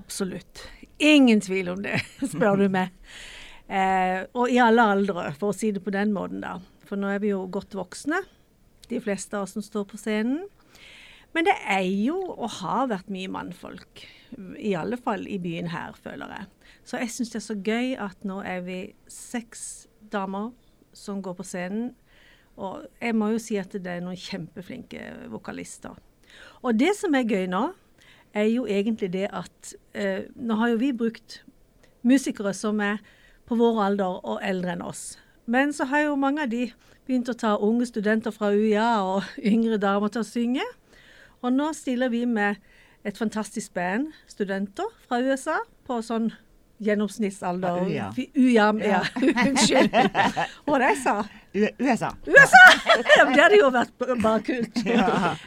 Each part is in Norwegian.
Absolutt. Ingen tvil om det, spør du meg. Eh, og i alle aldre, for å si det på den måten, da. For nå er vi jo godt voksne, de fleste av oss som står på scenen. Men det er jo, og har vært, mye mannfolk. I alle fall i byen her, føler jeg. Så jeg syns det er så gøy at nå er vi seks damer som går på scenen. Og jeg må jo si at det er noen kjempeflinke vokalister. Og det som er gøy nå, er jo egentlig det at eh, Nå har jo vi brukt musikere som er på vår alder og eldre enn oss. Men så har jo mange av de begynt å ta unge studenter fra UiA og yngre damer til å synge. Og nå stiller vi med et fantastisk band studenter fra USA på sånn gjennomsnittsalder Fra UiA. Vi- UiA, ja. Unnskyld. Hva var det jeg sa? U USA. USA! Ja, men det hadde jo vært b- bare kult.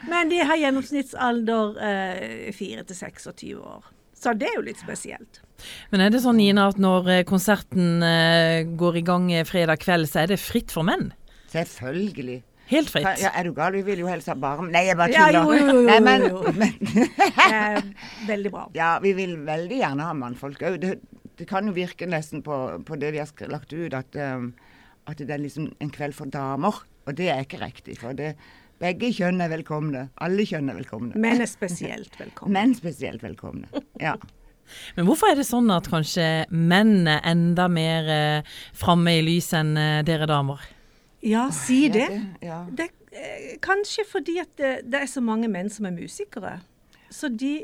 Men de har gjennomsnittsalder eh, 4 til 26 år. Så det er jo litt spesielt. Men er det sånn, Nina, at når eh, konserten eh, går i gang eh, fredag kveld, så er det fritt for menn? Selvfølgelig. Helt Hva- fritt. Ja, er du gal? Du vil jo helst ha bare Nei, jeg bare Ja, tuller. jo, jo, jo, jo, Nei, men, jo. men Eh, veldig bra. Ja, vi vil veldig gjerne ha mannfolk òg. Det, det kan jo virke nesten på, på det de har sk- lagt ut, at, um, at det er liksom en kveld for damer. Og det er ikke riktig. For det, begge kjønn er velkomne. Alle kjønn er velkomne. Men er spesielt velkommen. Menn spesielt velkomne. Ja. Men hvorfor er det sånn at kanskje menn er enda mer eh, framme i lyset enn eh, dere damer? Ja, si Ja, det. det- ja. det eh, kanskje fordi at det, det er så mange menn som er musikere. Så de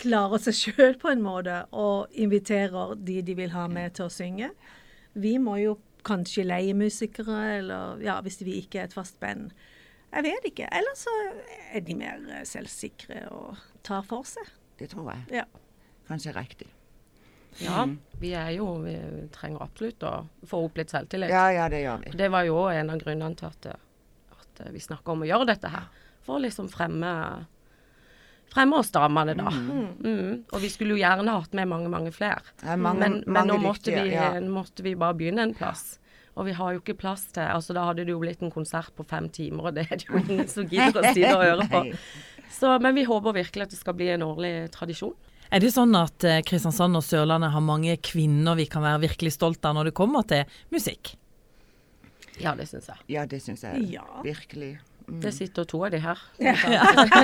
klarer seg sjøl på en måte, og inviterer de de vil ha med til å synge. Vi må jo kanskje leie musikere, eller ja, hvis vi ikke er et fast band. Jeg vet ikke. Eller så er de mer eh, selvsikre og tar for seg. Det tror jeg Ja. kanskje er riktig. Ja, Mm. vi er jo Vi trenger absolutt å få opp litt selvtillit. Ja, ja, det gjør vi. Det var jo en av grunnene til at, at vi snakker om å gjøre dette her. For å liksom fremme Fremme oss damene, da. Mm. Og vi skulle jo gjerne hatt med mange, mange flere. Det er mange- men, mange men nå måtte dyktige, vi, eh, ja. måtte vi bare begynne en plass. Og vi har jo ikke plass til Altså da hadde det jo blitt en konsert på fem timer, og det er det jo ingen som gidder å sitte og høre på. Nei. Så, men vi håper virkelig at det skal bli en årlig tradisjon. Er det sånn at eh, Kristiansand og Sørlandet har mange kvinner vi kan være virkelig stolt av når det kommer til musikk? Ja, det syns jeg. Ja, det syns jeg Ja. virkelig. Det sitter to av de her. Altså,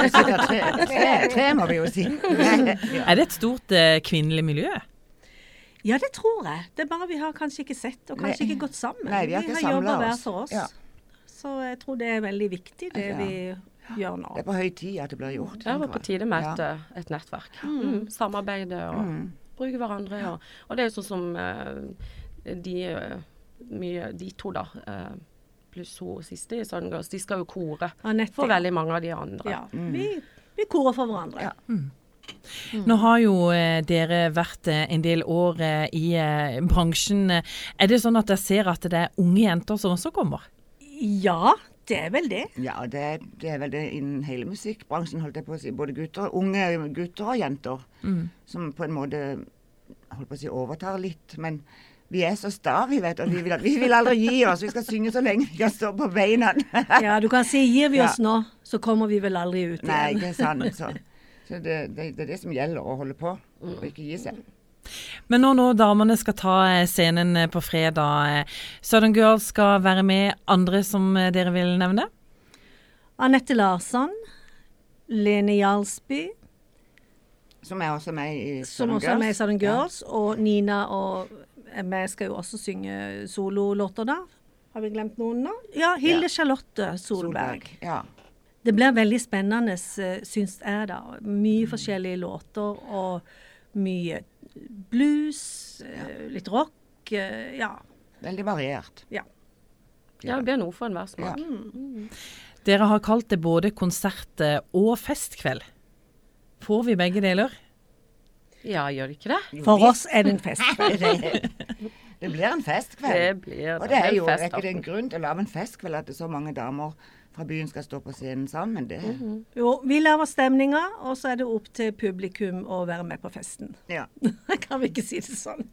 Det sitter tre, tre, tre, må vi jo si. Ja. Er det et stort eh, kvinnelig miljø? ja, det tror jeg. Det er bare vi har kanskje ikke sett, og kanskje ikke gått sammen. Nei, vi har ikke har jobba samlet hver oss. for oss. Ja. Så jeg tror det er veldig viktig, det Ja. vi gjør nå. Det er på høy tid at det blir gjort. Det var tenker på jeg. tide med et, Ja. eh, et nettverk. Mm. Samarbeide og bruke hverandre. Og, og det er jo sånn som eh, de, eh, mye, de to, da. eh, Pluss hun siste i Sundgirls. De skal jo kore Anette, for ja. veldig mange av de andre. Ja, vi, vi korer for hverandre. Mm. Ja. Mm. Nå har jo eh, dere vært eh, en del år eh, i eh, bransjen. Er det sånn at dere ser at det er unge jenter som også kommer? Ja, det er vel det. Ja, det, er- det er vel det innen hele musikkbransjen, holdt jeg på å si. Både gutter, unge gutter og jenter. Som på en måte holdt på å si, overtar litt. Men vi er så sta, vi vet. Og vi vil, vi vil aldri gi oss. Vi skal synge så lenge vi kan stå på beina. Ja, du kan si gir vi Ja. oss nå, så kommer vi vel aldri ut Nei, igjen. ikke sant. Så, så det, det, det er det som gjelder, å holde på og ikke gi seg. Men nå når damene skal ta eh, scenen eh, på fredag, eh, Southern Girls skal være med andre som eh, dere vil nevne? Anette Larsson, Lene Jarlsby, Som er også med i som Southern også er med i Girls. Southern Girls, og Nina og vi skal jo også synge sololåter da. Har vi glemt noen nå? Ja, Hilde Ja. Charlotte Solberg. Solberg. Ja. Det blir veldig spennende, eh, syns jeg da. Mye forskjellige låter og mye blues, eh, litt rock. eh, Ja. Veldig variert. ja. Ja, det blir noe for enhver smak. Dere har kalt det både konsert eh, og festkveld. Får vi begge deler? Ja, gjør det ikke det? For oss er det en fest. Det blir en festkveld. Det blir Og det er en jo er ikke det festaften. en grunn til å lage en festkveld at det er så mange damer fra byen skal stå på scenen sammen. Det, Mhm. Jo, vi lager stemninga, og så er det opp til publikum å være med på festen. ja. Kan vi ikke si det sånn?